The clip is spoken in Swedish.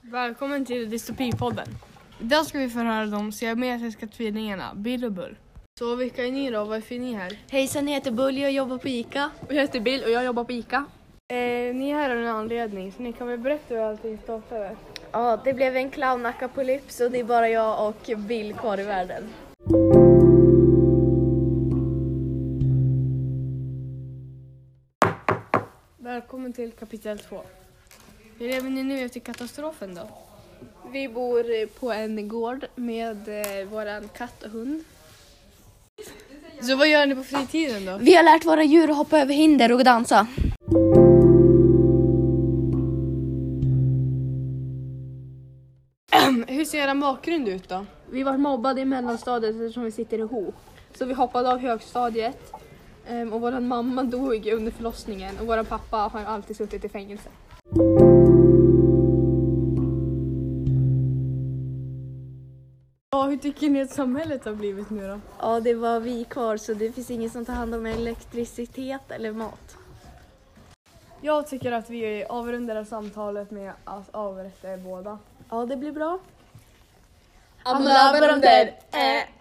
Välkommen till Dystopipodden. Idag ska vi förhöra de siamesiska tvillingarna Bill och Bull. Så vilka är ni då? Varför är ni här? Hejsan, jag heter Bully och jobbar på ICA. Jag heter Bill och jag jobbar på ICA. Eh, ni är här av en anledning, så ni kan väl berätta hur allting startade? Ja, det blev en clownakapolyps och det är bara jag och Bill kvar i världen. Välkommen till kapitel 2. Hur lever ni nu efter katastrofen då? Vi eh, bor på en gård med eh, vår katt och hund. Så vad gör ni på fritiden då? Vi har lärt våra djur att hoppa över hinder och dansa. Hur ser er bakgrund ut då? Vi var mobbade i mellanstadiet eftersom vi sitter ihop. Så vi hoppade av högstadiet ehm, och vår mamma dog under förlossningen och vår pappa har alltid suttit i fängelse. Ja, hur tycker ni att samhället har blivit nu då? Ja, det var vi kvar så det finns ingen som tar hand om elektricitet eller mat. Jag tycker att vi avrundar samtalet med att avrätta er båda. Ja, det blir bra. Amulabaronder, eh,